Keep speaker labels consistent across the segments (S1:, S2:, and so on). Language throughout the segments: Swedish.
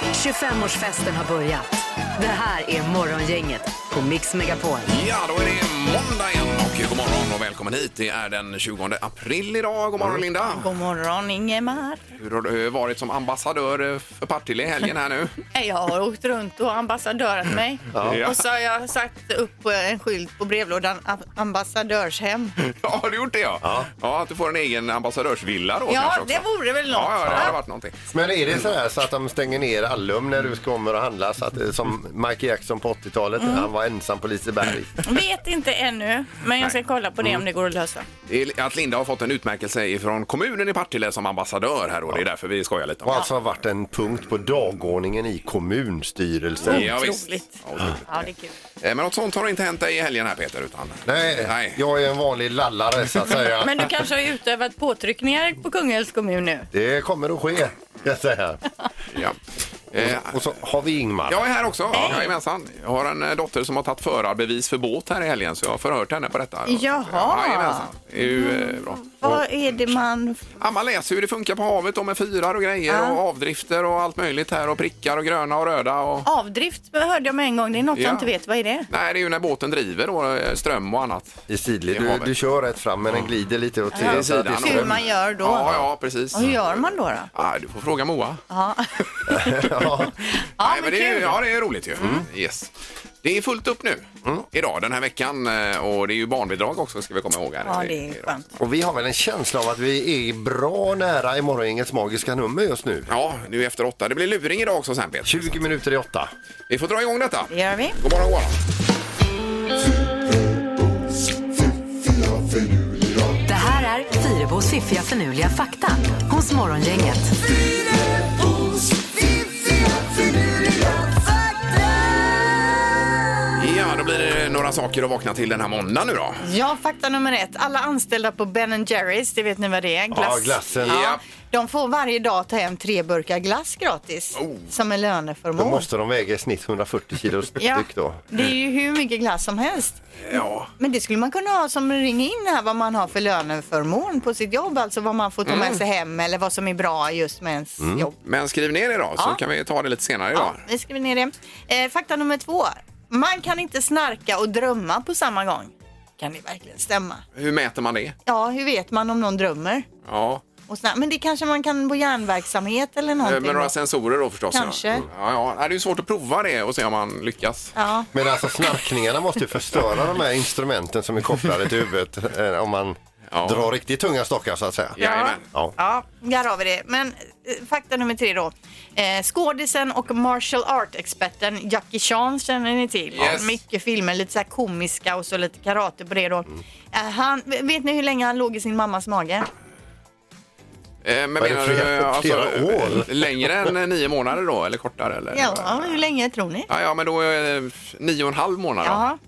S1: 25-årsfesten har börjat. Det här är Morgongänget på Mix Megapol.
S2: Ja, då är det måndag igen och god morgon och välkommen hit. Det är den 20 april idag. God morgon Linda!
S3: Mm. God morgon Ingemar.
S2: Hur har du varit som ambassadör eh, för Partille i helgen här nu?
S3: Jag har åkt runt och ambassadörat mig.
S2: Mm. Ja.
S3: Och så har jag satt upp en skylt på brevlådan, am- ambassadörshem.
S2: Ja, har du gjort det ja? Ja, att du får en egen ambassadörsvilla då
S3: Ja,
S2: kanske också.
S3: det vore väl något.
S2: Ja, ja, det hade varit någonting.
S4: Men är det så här så att de stänger ner Allum när du kommer och handlar? Så att, eh, som Michael Jackson på 80-talet, han var ensam på Liseberg.
S3: Vet inte ännu, men jag ska
S2: Nej. Mm.
S3: kolla på det om det går att lösa.
S2: Det är Att Linda har fått en utmärkelse ifrån kommunen i Partille som ambassadör här då. Det är därför vi skojar lite om
S4: Och alltså har varit en punkt på dagordningen i kommunstyrelsen.
S2: det. Ja, visst.
S3: Otroligt.
S2: Ja, otroligt.
S3: Ja, det är kul.
S2: Eh, Men något sånt har inte hänt dig i helgen här Peter utan...
S4: Nej,
S2: Nej.
S4: jag är en vanlig lallare så att säga.
S3: Men du kanske har utövat påtryckningar på Kungälvs kommun nu?
S4: Det kommer att ske, ska jag säga.
S2: Ja. Eh,
S4: Och så har vi Ingmar.
S2: Jag är här också. Ja, jajamensan. Jag har en eh, dotter som har tagit förarbevis för båt här i helgen så jag har förhört henne på detta.
S3: Jaha. Mm.
S2: Ja, jajamensan. det är ju eh, bra.
S3: Vad är det man...
S2: Ja, man läser hur det funkar på havet då med fyrar och grejer och avdrifter och allt möjligt här och prickar och gröna och röda. Och...
S3: Avdrift hörde jag med en gång. Det är något
S2: Ja.
S3: jag inte vet. Vad är det?
S2: Nej, det är ju när båten driver då, eh, ström och annat.
S4: I sidled.
S2: I
S4: Du,
S2: havet.
S4: du kör rätt fram men den glider lite åt sidan. så att det är
S3: Hur
S4: ström.
S3: man gör då?
S2: Ja, ja, precis.
S3: Och hur gör man då? då?
S2: Ja, du får fråga Moa.
S3: Ja.
S4: Ja.
S3: Ja,
S2: Nej,
S3: men
S2: men det, är, ju-
S3: kul. Mm.
S2: ja, det är roligt ju. Yes. Det är fullt upp nu idag den här veckan eh, och det är ju barnbidrag också ska vi komma ihåg. Här.
S3: Ja, det är
S2: idag.
S3: skönt.
S4: Och vi har väl en känsla av att vi är bra nära i morgongängets magiska nummer just nu.
S2: Ja, nu efter åtta. Det blir luring idag också sen Peter.
S4: 20 minuter i åtta.
S2: Vi får dra igång detta.
S3: Det gör vi.
S2: God morgon, god morgon.
S1: Det här är Fyrebos fiffiga förnuliga fakta hos Morgongänget.
S2: Ja, då blir det några saker att vakna till den här måndagen nu då.
S3: Ja, fakta nummer ett. Alla anställda på Ben Jerrys, det vet ni vad det är? Glass.
S4: Ja, glassen.
S2: Ja.
S3: Ja. De får varje dag ta hem tre burkar glass gratis
S2: Oh.
S3: som en
S4: Då
S3: löneförmån.
S4: måste de väga i snitt 140 kilo
S3: Ja,
S4: styck då.
S3: det är ju hur mycket glass som helst.
S2: Ja.
S3: Men det skulle man kunna ha som ring in här vad man har för löneförmån på sitt jobb, alltså vad man får ta
S4: Mm.
S3: med sig hem eller vad som är bra just med ens jobb.
S2: Men skriv ner det då, så
S3: Ja.
S2: kan vi ta det lite senare
S3: Ja,
S2: idag.
S3: vi skriver ner det. Eh, fakta nummer två. Man kan inte snarka och drömma på samma gång. Kan det verkligen stämma?
S2: Hur mäter man det?
S3: Ja, hur vet man om någon drömmer?
S2: Ja,
S3: Och sådär. Men det kanske man kan på järnverksamhet eller
S2: med
S3: någonting.
S2: Eh, några sensorer då förstås.
S3: Kanske.
S2: Ja. Mm. Ja, ja. Nej, Det är ju svårt att prova det och se om man lyckas.
S3: Ja.
S4: Men alltså snarkningarna måste ju förstöra de här instrumenten som är kopplade till huvudet eh, om man
S2: Ja.
S4: drar riktigt tunga stockar så att säga.
S2: Jajamän.
S4: Ja.
S3: ja, där har vi det. Men eh, fakta nummer tre då. Eh, skådisen och martial art-experten Jackie Chan känner ni till.
S2: Yes.
S3: Mycket filmer, lite så här komiska och så lite karate på det då.
S2: Mm.
S3: Eh, han, v- vet ni hur länge han låg i sin mammas mage?
S2: Eh, Men alltså,
S4: det flera- flera år?
S2: eh, längre än nio månader då, eller kortare? Eller?
S3: Ja, hur länge tror ni?
S2: Eh, Ja, ja, men då är det nio och en halv månad då.
S3: Ja.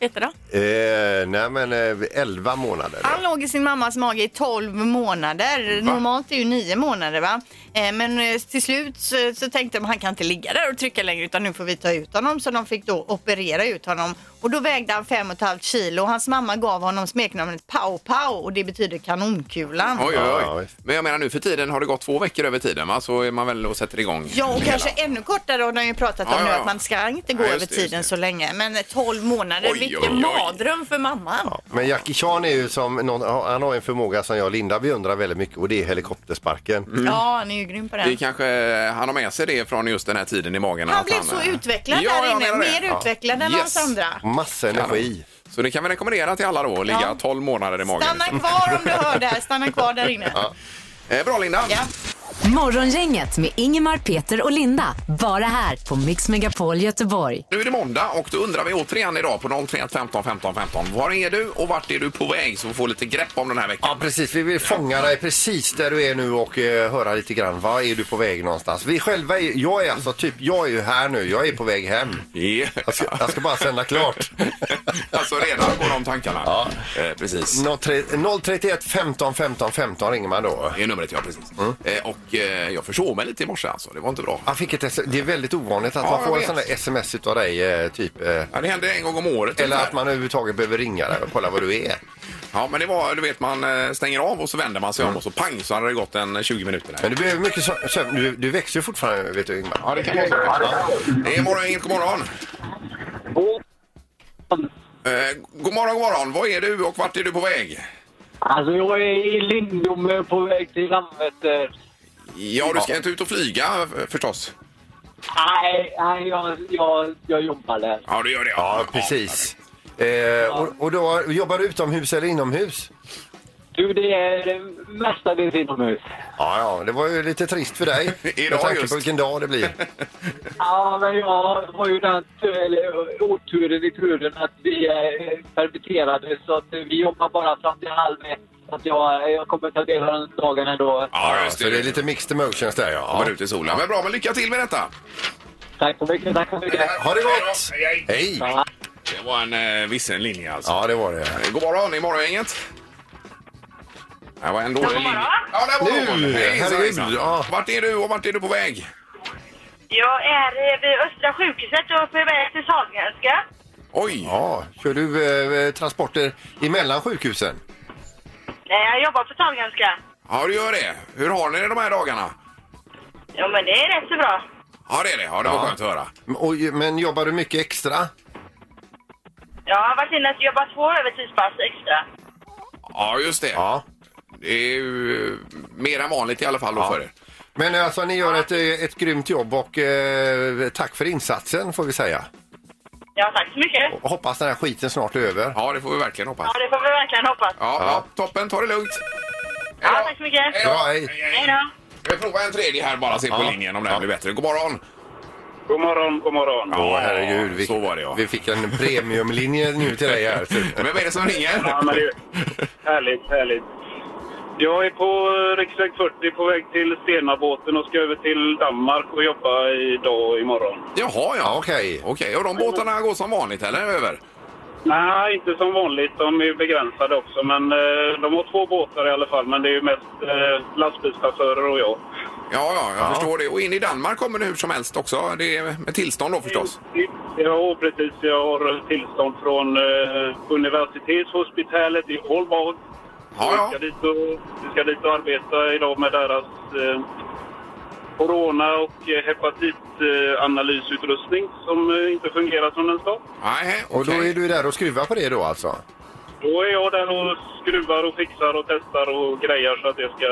S3: Vet du då?
S4: Eh, nej men eh, 11 månader.
S3: Han låg i sin mammas mage i 12 månader.
S2: Va?
S3: Normalt är ju 9 månader va? Eh, Men eh, till slut så, så tänkte de han kan inte ligga där och trycka längre utan nu får vi ta ut honom. Så de fick då operera ut honom. Och då vägde han 5,5 kilo och hans mamma gav honom smeknamnet Pow Pow och det betyder kanonkulan.
S2: Oj,
S4: Ja,
S2: oj, oj.
S4: visst.
S2: Men jag menar nu för tiden har det gått två veckor över tiden va? Så är man väl och sätter igång.
S3: Ja, och
S2: hela.
S3: kanske ännu kortare har de ju pratat
S2: Ja,
S3: om nu
S2: ja, ja.
S3: att man ska inte gå
S2: Ja, just
S3: över
S2: det, just
S3: tiden
S2: det.
S3: så länge. Men 12 månader,
S2: Oj,
S3: vilken
S2: oj, Mm. oj.
S3: mardröm för mamman.
S4: Men Jackie Chan är ju som, någon, han har en förmåga som jag och Linda beundrar väldigt mycket och det är helikoptersparken.
S3: Ja, han är ju grym på den.
S2: Det kanske han har med sig det från just den här tiden i magen.
S3: Han
S2: att
S3: blev så utvecklad
S2: eh. Ja,
S3: där
S2: jag
S3: inne,
S2: menar det.
S3: mer utvecklad än
S2: Yes.
S3: hans andra.
S4: Massa energi.
S2: Så det kan vi rekommendera till alla då, att ligga
S3: Ja.
S2: 12 månader i magen.
S3: Stanna kvar om du hör det här, stanna kvar där inne.
S2: Eh, bra Linda!
S3: Ja.
S1: Morgongänget med Ingemar, Peter och Linda. Bara här på Mix Megapol Göteborg.
S2: Nu är det måndag och då undrar vi återigen idag på 031 15 15 15. Var är du och vart är du på väg? Så vi får lite grepp om den här veckan.
S4: Ja precis, vi vill fånga dig precis där du är nu och eh, höra lite grann. Var är du på väg någonstans? Vi själva är, jag är alltså typ, jag är ju här nu, jag är på väg hem.
S2: Yeah.
S4: Jag ska, jag ska bara sända klart.
S2: Alltså redan går de tankarna. Ja. Eh, precis.
S4: 031 15 15 15 ringer man då.
S2: Det är numret, ja precis. Eh, och eh, jag försov mig lite i morse alltså. Det var inte bra.
S4: Jag fick ett, S- det är väldigt ovanligt att
S2: Ja,
S4: man
S2: jag
S4: får en
S2: vet.
S4: sån där sms utav dig, eh, typ. eh,
S2: Ja, det händer en gång om året.
S4: Eller
S2: ungefär.
S4: att man överhuvudtaget behöver ringa dig och kolla vad du är.
S2: Ja, men det var, du vet, man eh, stänger av och så vänder man sig om och så pang så hade det gått en 20 minuter. Där.
S4: Men du behöver mycket sö- sömn. Du, du växer ju fortfarande, vet du, Ingmar.
S2: Ja, det kan vara så. Ja. Det är morgon, inget god morgon.
S5: Och,
S2: Eh, god morgon, god morgon. Vad är du och vart är du på väg?
S5: alltså jag är i Lindome på väg till eh. Landvetter.
S2: Ja, du ska inte ut och flyga eh, förstås.
S5: Nej, nej jag, jag, jag jobbar där.
S2: Ja, du gör det.
S4: Ja, precis. Eh, och, och då jobbar du utomhus eller inomhus?
S5: Du, det är mestadels inomhus.
S4: Ja, ja, det var ju lite trist för dig.
S2: Idag
S4: med tanke
S2: just.
S4: på vilken dag det blir.
S5: Ja, men jag har ju den tur- eller, oturen i turen att vi är permitterade så att vi jobbar bara fram till halv ett. Så att jag, jag kommer ta del av den dagen ändå.
S2: Ja, just
S4: Så det är lite mixed emotions där, ja.
S2: Kommer ut i solen. Men bra, men lycka till med detta.
S5: Tack så mycket, tack så mycket.
S4: Ha det gott!
S2: Hej då.
S4: Hej!
S5: Ja.
S2: Det var en eh, vissen linje alltså.
S4: Ja, det var det.
S2: Eh, God morgon, i morgongänget. Det var en dålig linje. Ja, där var
S4: Nu,
S2: någon. Hejsan,
S4: herregud,
S2: hejsan.
S4: ja.
S2: Vart är du och vart är du på väg?
S6: Jag är eh, vid Östra sjukhuset och på väg till Sahlgrenska.
S2: Oj!
S4: Ja, kör du eh, transporter emellan sjukhusen?
S6: Nej, jag jobbar på Sahlgrenska.
S2: Ja, du gör det. Hur har ni det de här dagarna?
S6: Jo, men det är rätt så bra.
S2: Ja, det är det. Ja, det var
S4: Ja.
S2: skönt att höra.
S4: Och, men jobbar du mycket extra?
S6: Jag har varit inne och jobbat två övertidspass extra.
S2: Ja, just det.
S4: Ja.
S2: Det är ju eh, mer än vanligt i alla fall då för er.
S4: Men alltså, ni gör ett, eh, ett grymt jobb och eh, tack för insatsen får vi säga.
S6: Ja, tack så mycket.
S4: Och hoppas den här skiten snart är över.
S2: Ja, det får vi verkligen hoppas.
S6: Ja, det får vi verkligen hoppas.
S2: Ja, ja. toppen. Ta det lugnt.
S6: Ja, tack så mycket.
S2: Hej då.
S4: Bra, hej.
S6: Hej då.
S2: Vi provar en tredje här bara, se på linjen om det här blir bättre. God morgon!
S7: God morgon, god morgon.
S4: Åh herregud, vi,
S2: så var det ja.
S4: vi fick en premiumlinje nu till dig här. typ.
S2: Vem är det som ringer?
S7: Ja, men det är härligt, härligt. Jag är på eh, riksväg 40 på väg till Stenabåten och ska över till Danmark och jobba idag och imorgon.
S2: Jaha,
S4: Ja,
S2: ja.
S4: okej.
S2: Okej, och de båtarna går som vanligt eller? Över?
S7: Nej, inte som vanligt. De är begränsade också. Men eh, de har två båtar i alla fall. Men det är ju mest eh, lastbilschaufförer och jag.
S2: Ja, ja, jag förstår det. Och in i Danmark kommer det hur som helst också. Det är med tillstånd då förstås.
S7: Ja, precis. Jag har tillstånd från eh, universitetshospitalet i Aalborg.
S2: Ja,
S7: Vi,
S2: ja.
S7: ska dit och, vi ska dit och arbeta idag med deras eh, corona och eh, hepatitanalysutrustning som eh, inte fungerar som den ska.
S2: Nej,
S4: Och då är
S2: okej.
S4: du där och skruvar på det då alltså?
S7: Då är jag där och skruvar och fixar och testar och grejer så att det ska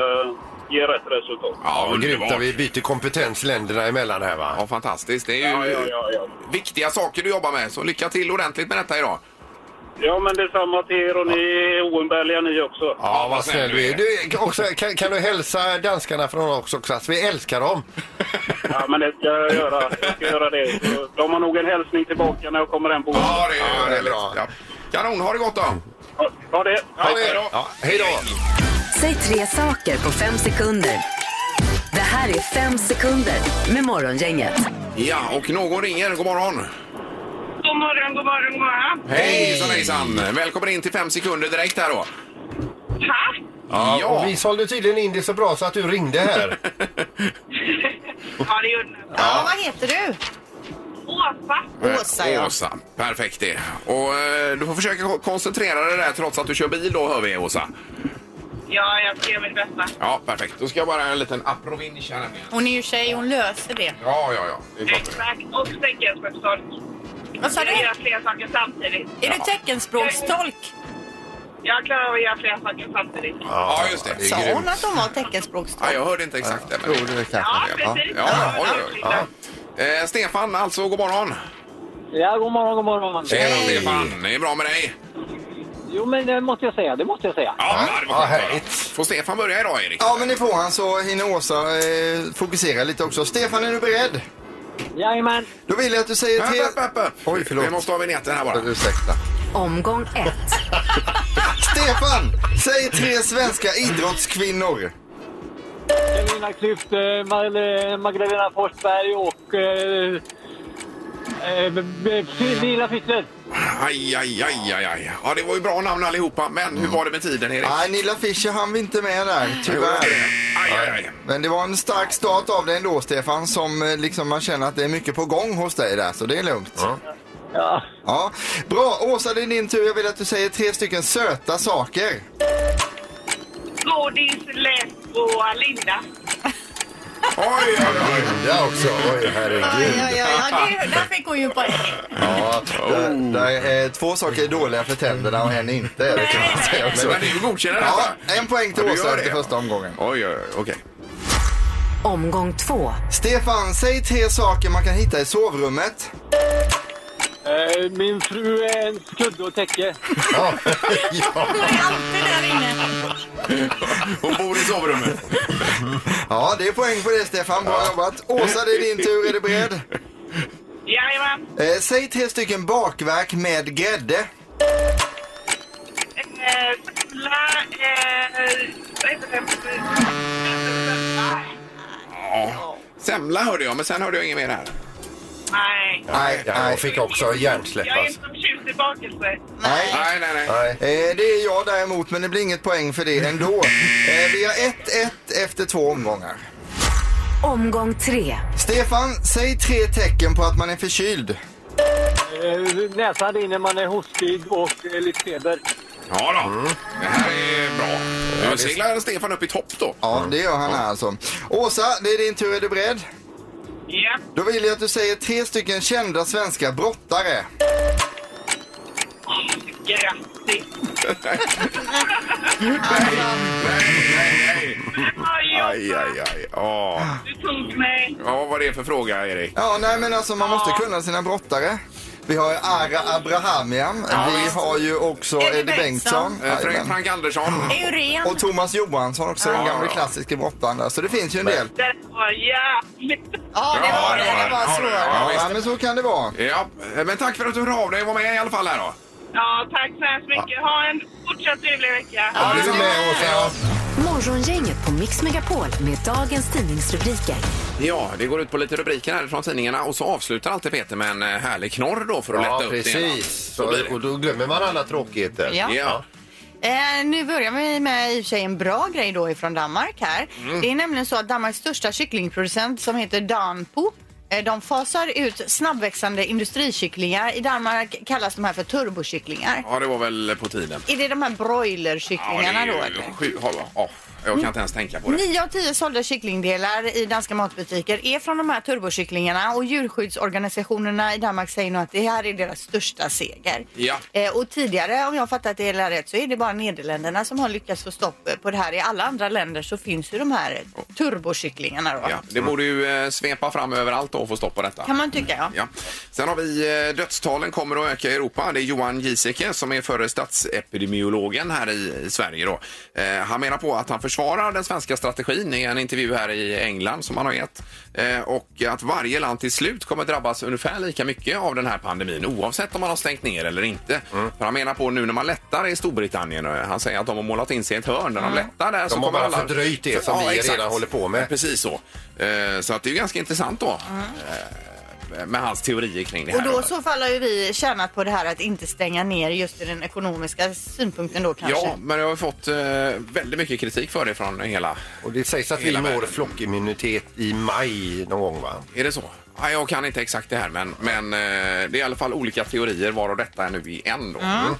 S7: ge rätt resultat.
S2: Ja,
S4: Ja, grymt
S2: underbart.
S4: att vi byter kompetens länderna emellan här va?
S2: Ja, fantastiskt. Det är
S7: Ja,
S2: ju
S7: ja, ja, ja.
S2: viktiga saker du jobbar med, så lycka till ordentligt med detta idag.
S7: ja men detsamma till er och ni är oumbärliga ni också.
S4: Ja, vad snäll du är. Du, också, kan, kan du hälsa danskarna från oss också att vi älskar dem?
S7: Ja, men det ska jag göra. Jag ska göra det. Så De har nog en hälsning tillbaka när jag kommer hem på
S2: Ja, det är,
S4: Ja, det är
S2: bra.
S4: bra.
S2: Ja. Kanon, ha det gott då!
S7: Ja, Ha det!
S4: Ja, hej då!
S1: Säg tre saker på fem sekunder. Det här är fem sekunder med Morgongänget.
S2: Ja, och någon ringer. God morgon!
S6: God morgon, god morgon, god morgon.
S2: Hej! Hejsan, hejsan! Välkommen in till fem sekunder direkt här då.
S6: Tack.
S4: Ja,
S2: Ja.
S4: och vi sålde tydligen in det så bra så att du ringde här.
S6: Ja, det gjorde ni.
S3: Ja, vad heter du?
S6: Åsa.
S3: Åsa, ja.
S2: Eh, Åsa, perfekt det. Och eh, du får försöka ko- koncentrera dig där trots att du kör bil då, hör vi Åsa.
S6: Ja, jag ska göra mitt bästa.
S2: Ja, perfekt. Då ska jag bara göra en liten aprovinsch här nämligen.
S3: Hon är ju tjej, hon löser det.
S2: Ja, ja, ja. Det är klart.
S6: Exakt. Och teckenspråkstolk.
S3: Vad sa du?
S6: Jag gör flera saker samtidigt.
S3: Är du teckenspråkstolk?
S6: Jag klarar av att göra flera saker samtidigt.
S2: Ja, just det.
S4: är
S3: Sa
S4: grymt.
S3: hon att hon var
S2: Ja,
S3: teckenspråkstolk?
S2: jag hörde inte exakt det.
S4: Jo, det är
S6: Ja,
S4: kanske det. Ja.
S6: precis.
S2: Ja, oj, oj, oj. Eh, Stefan, alltså, god morgon.
S5: Ja, god morgon, god morgon.
S2: Tjena,
S4: Hej.
S2: Stefan. Det är bra med dig.
S5: Jo, men det måste jag säga, det måste jag säga.
S2: Ja, det var
S4: Ja,
S2: skönt.
S4: härligt.
S2: Får Stefan börja idag, Erik?
S8: Ja, men det får han så hinner Åsa eh, fokusera lite också. Stefan, är du beredd?
S5: Jajamän.
S8: Då vill jag att du säger
S2: Upp,
S8: till...
S2: upp, upp, upp.
S4: Oj, förlåt.
S2: Vi måste ha vignetten här bara.
S4: Ursäkta.
S1: Omgång ett.
S8: Stefan, säg tre svenska idrottskvinnor.
S5: Carolina Klüft, eh, Mag- eh, Magdalena Forsberg och eh, eh, b- b- Lila Fischer.
S2: Aj, aj, aj, aj, aj. Ja, det var ju bra namn allihopa, men
S4: Mm.
S2: hur var det med tiden, Erik?
S8: Nej, Nilla Fischer han vi inte med där, tyvärr.
S2: Aj, aj, aj.
S8: Men det var en stark start av dig ändå, Stefan, som eh, liksom man känner att det är mycket på gång hos dig där, så det är lugnt. Ja.
S5: Ja.
S8: Bra, Åsa, det är din tur. Jag vill att du säger tre stycken söta saker.
S6: Godis, läsk och linda.
S2: Oj, oj, oj.
S4: Ja också, oj
S3: Oj,
S4: herregud.
S3: oj, oj, ja, det, där fick hon ju poäng.
S8: Ja,
S2: oh.
S8: där, där, eh, två saker är dåliga för tänderna och en inte. Det kan man säga
S2: Men
S8: också.
S2: men du godkänner
S8: Ja,
S2: detta?
S8: en poäng till
S2: Ja, du
S8: Åsa
S2: gör det,
S8: efter
S2: ja.
S8: första omgången.
S2: Oj, oj, oj, okej.
S1: Omgång två.
S8: Stefan, säg tre saker man kan hitta i sovrummet.
S5: Eh, Min fru är en kudde och täcke.
S4: Ja, ja.
S3: Hon är alltid där inne.
S2: Hon bor i sovrummet.
S8: Ja, det är poäng på det Stefan. Bra jobbat. Åsa, det är din tur. Är du beredd?
S6: Jajamän.
S8: Eh, säg tre stycken bakverk med grädde.
S6: Eh, Semla, eh, vad heter det?
S2: Ja. Semla hörde jag, men sen hörde jag inget mer här.
S6: Nej.
S8: Nej, nej.
S4: Jag fick också hjärnsläpp
S6: Jag är inte
S4: alltså.
S6: så förtjust i bakelse.
S8: nej.
S2: Nej, nej, nej.
S4: Nej.
S8: Eh, det är jag däremot, men det blir inget poäng för det ändå. Eh, vi har 1-1 efter två omgångar.
S1: Omgång tre.
S8: Stefan, säg tre tecken på att man är förkyld.
S5: Eh, Näsan rinner, man är hostig och eh, lite feber.
S2: Ja då. Det här är bra. Nu seglar Stefan upp i topp då.
S8: Ja, det gör han här alltså. Åsa, det är din tur. Är du beredd?
S6: Ja.
S8: Då vill jag att du säger tre stycken kända svenska brottare.
S6: Grattis.
S2: Nej, nej, nej.
S6: Aj,
S2: Aj, aj, aj. Ja,
S6: Du tog mig.
S2: ja vad är det för fråga, Erik?
S8: Ja, nej men alltså man måste kunna sina brottare. Vi har ju Ara Abrahamian. vi har ju också
S3: Eddie
S8: Eddie Bengtsson.
S3: Bengtsson.
S2: Eh, Frank-
S8: Jajamän.
S2: Frank Andersson.
S3: Det är ju
S8: Och
S3: ren.
S8: Thomas Johansson också, den gamle klassiske brottaren där. Så det finns ju en del.
S6: Det var jävligt.
S3: Ja, det var det. Det var svårt.
S2: Ja,
S8: Ja,
S2: visst.
S8: men så kan det vara.
S2: Ja, eh, men tack för att du hörde av dig och var med i alla fall här då.
S6: Ja, tack så hemskt mycket. Ha en fortsatt trevlig vecka.
S4: Du är med Åsa.
S1: Morgongänget på Mix Megapol med dagens tidningsrubriker.
S2: Ja, det går ut på lite rubriker här från tidningarna och så avslutar alltid Peter med en eh, härlig knorr då för att
S4: Ja,
S2: lätta upp det hela.
S4: precis.
S2: Så blir det.
S4: Och då glömmer man alla tråkigheter.
S3: Ja.
S2: Ja.
S3: Eh, nu börjar vi med i och för sig en bra grej då ifrån Danmark här. Det är nämligen så att Danmarks största kycklingproducent som heter Danpo eh, de fasar ut snabbväxande industrikycklingar. I Danmark kallas de här för turbokycklingar.
S2: ja, det var väl på tiden.
S3: Är det de här
S2: Ja, det
S3: broilerkycklingarna
S2: är
S3: då?
S2: ju
S3: eller?
S2: sju- ja, ja, jag kan inte ens tänka på det.
S3: Nio av tio sålda kycklingdelar i danska matbutiker är från de här turbokycklingarna och djurskyddsorganisationerna i Danmark säger nog att det här är deras största seger.
S2: Ja.
S3: Eh, och tidigare, om jag har fattat det hela rätt, så är det bara Nederländerna som har lyckats få stopp på det här. I alla andra länder så finns ju de här turbokycklingarna då.
S2: Ja, det borde ju eh, svepa fram överallt då och få stopp på detta.
S3: Kan man tycka ja.
S2: Ja. Sen har vi eh, dödstalen kommer att öka i Europa. Det är Johan Giesecke som är före statsepidemiologen här i i Sverige. Då. Eh, han menar på att han försvarar den svenska strategin i en intervju här i England som han har gett. Eh, och att varje land till slut kommer drabbas ungefär lika mycket av den här pandemin oavsett om man har stängt ner eller inte.
S4: Mm.
S2: För han menar på nu när man lättar i Storbritannien, eh, han säger att de har målat in sig i ett hörn när de lättar där. så
S4: Mm.
S2: kommer
S4: har bara
S2: alla...
S4: fördröjt det som vi
S2: exakt.
S4: redan håller på med. Mm.
S2: Precis så. Eh, så att det är ju ganska intressant då. Eh, med hans teorier kring det här.
S3: Och då i så fall har ju vi tjänat på det här att inte stänga ner just i den ekonomiska synpunkten då kanske.
S2: Ja, men jag har fått eh, väldigt mycket kritik för det från hela...
S4: Och det sägs att vi
S2: Hela
S4: når
S2: världen.
S4: flockimmunitet i maj någon gång va?
S2: Är det så? Ja, jag kan inte exakt det här, men, men eh, det är i alla fall olika teorier varav detta är nu i en. Då. Mm.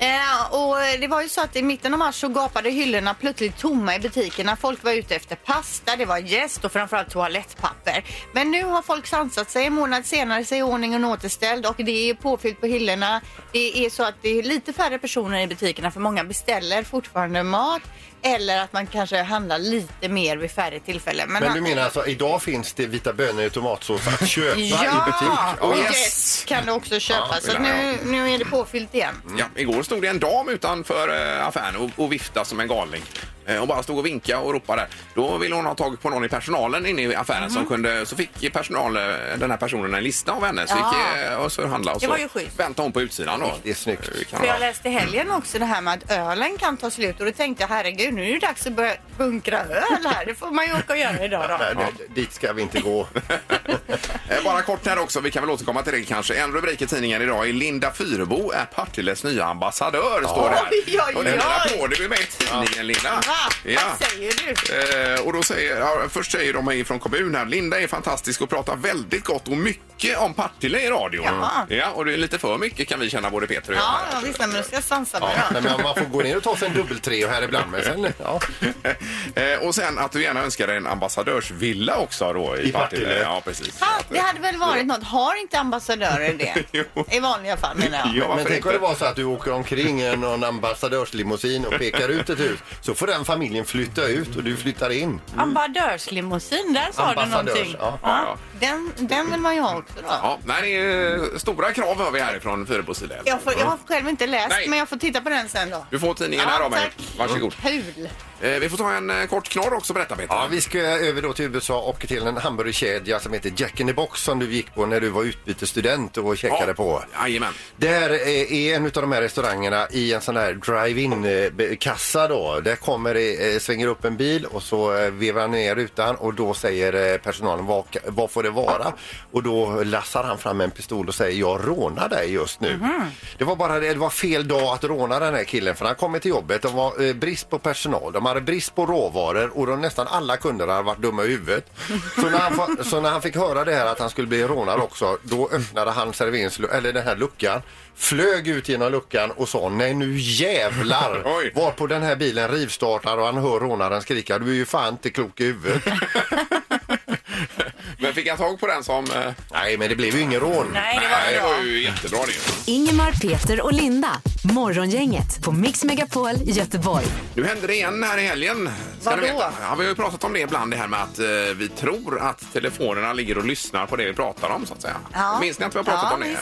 S3: Eh, och det var ju så att i mitten av mars så gapade hyllorna plötsligt tomma i butikerna. Folk var ute efter pasta, det var jäst och framförallt toalettpapper. Men nu har folk sansat sig. En månad senare så är ordningen återställd och det är påfyllt på hyllorna. Det är så att det är lite färre personer i butikerna för många beställer fortfarande mat eller att man kanske handlar lite mer vid färre tillfällen.
S4: Men du menar alltså idag finns det vita bönor i tomatsås att köpa
S3: Ja,
S4: i butik?
S3: och
S2: Ja, yes.
S3: yes. kan du också köpa.
S2: Ja,
S3: så
S2: ja.
S3: nu, nu är det påfyllt igen.
S2: mm. Ja, igår stod det en dam utanför eh, affären och, och viftade som en galning. Eh, och bara stod och vinkade och ropade. Då ville hon ha tag på någon i personalen inne i affären som
S3: Mm.
S2: kunde... Så fick personal, eh, den här personen en lista av henne. Så
S3: Ja.
S2: gick eh, och så handlade och
S3: Det
S2: så
S3: var ju schysst.
S2: väntade hon på utsidan då.
S4: Det är snyggt.
S2: Eh, kan
S3: För jag
S2: vara-
S3: läste i helgen också det här med att ölen kan ta slut och då tänkte jag herregud nu är det dags att börja bunkra öl här. Det får man ju åka och göra idag då.
S4: Nej, det- dit ska vi inte gå.
S2: Eh, Bara kort här också, vi kan väl återkomma till det kanske. En rubrik i tidningen idag är Linda Fyrebo är Partilles nya ambassadör, står det här.
S3: Oj, oj, oj.
S2: Och den lilla applåden är med i tidningen, Linda.
S3: Va?
S2: Ja.
S3: Vad säger du?
S2: Eh, och då säger, ja, först säger de här från kommunen här, Linda är fantastisk och pratar väldigt gott och mycket om Partille i radion.
S3: Jaha.
S2: Ja, och det är lite för mycket kan vi känna både Peter och jag.
S3: Ja,
S2: här.
S3: ja, visst, men nu ska jag svansa mig
S4: Ja,
S3: då.
S4: nej, men man får gå ner och ta sig en dubbeltrio här ibland. Men sen, ja.
S2: Eh, och sen att du gärna önskar dig en ambassadörsvilla också då i,
S4: I Partille.
S2: Ja, precis.
S3: Fan, det hade väl varit något. Har inte ambassadörer det?
S2: Jo.
S3: I vanliga fall menar jag.
S2: Ja, varför
S4: Men tänk om
S2: inte?
S4: det var så att du åker omkring i någon ambassadörslimousin och pekar ut ett hus. Så får den familjen flytta ut och du flyttar in.
S3: Ambassadörslimousin, där sa du
S4: Ambassadörs,
S3: någonting.
S4: ja.
S2: Ja,
S3: Den, den vill man ju ha också då.
S2: Ja, nej, det är eh, stora krav hör vi härifrån Fyrebos sida.
S3: Jag, får, jag har själv inte läst,
S2: Nej.
S3: men jag får titta på den sen då.
S2: Du får tidningen
S3: Ja,
S2: här av mig.
S3: tack.
S2: Varsågod.
S3: Kul!
S2: Eh, vi får ta en eh, kort knorr också berätta Peter.
S4: Ja, vi ska över då till USA och till en hamburgerkedja som heter Jack in the Box som du gick på när du var utbytesstudent och checkade på.
S2: Jajamän.
S4: Där eh, är en av de här restaurangerna i en sån här drive-in eh, be- kassa då. Där kommer det, eh, svänger upp en bil och så eh, vevar han ner rutan och då säger eh, personalen vad, ka- vad får det vara? Och då lassar han fram en pistol och säger jag rånar dig just nu. Det var bara det, det var fel dag att råna den här killen för han kommer till jobbet. De var eh, brist på personal, de hade brist på råvaror och de nästan alla kunder hade varit dumma i huvudet. Så när han, fa- så när han fick höra det här att han skulle bli rånad också, då öppnade han serverings, eller den här luckan, flög ut genom luckan och sa nej nu jävlar!
S2: Oj.
S4: Varpå den här bilen rivstartar och han hör rånaren skrika du är ju fan inte klok i huvudet.
S2: Men fick jag tag på den som... Eh,
S4: nej men det blev ju ingen rån.
S3: Nej, det
S2: nej, det
S3: var
S2: var
S3: bra.
S2: ju jättebra det.
S1: Ingemar, Peter och Linda. Morgongänget på Mix Megapol Göteborg.
S2: Nu hände det igen här i helgen. ska ni
S3: Vadå?
S2: veta. Ja, vi har ju pratat om det ibland, det här med att eh, vi tror att telefonerna ligger och lyssnar på det vi pratar om så att säga.
S3: Ja.
S2: Minns ni att vi har pratat
S3: Ja,
S2: om det?
S3: visst.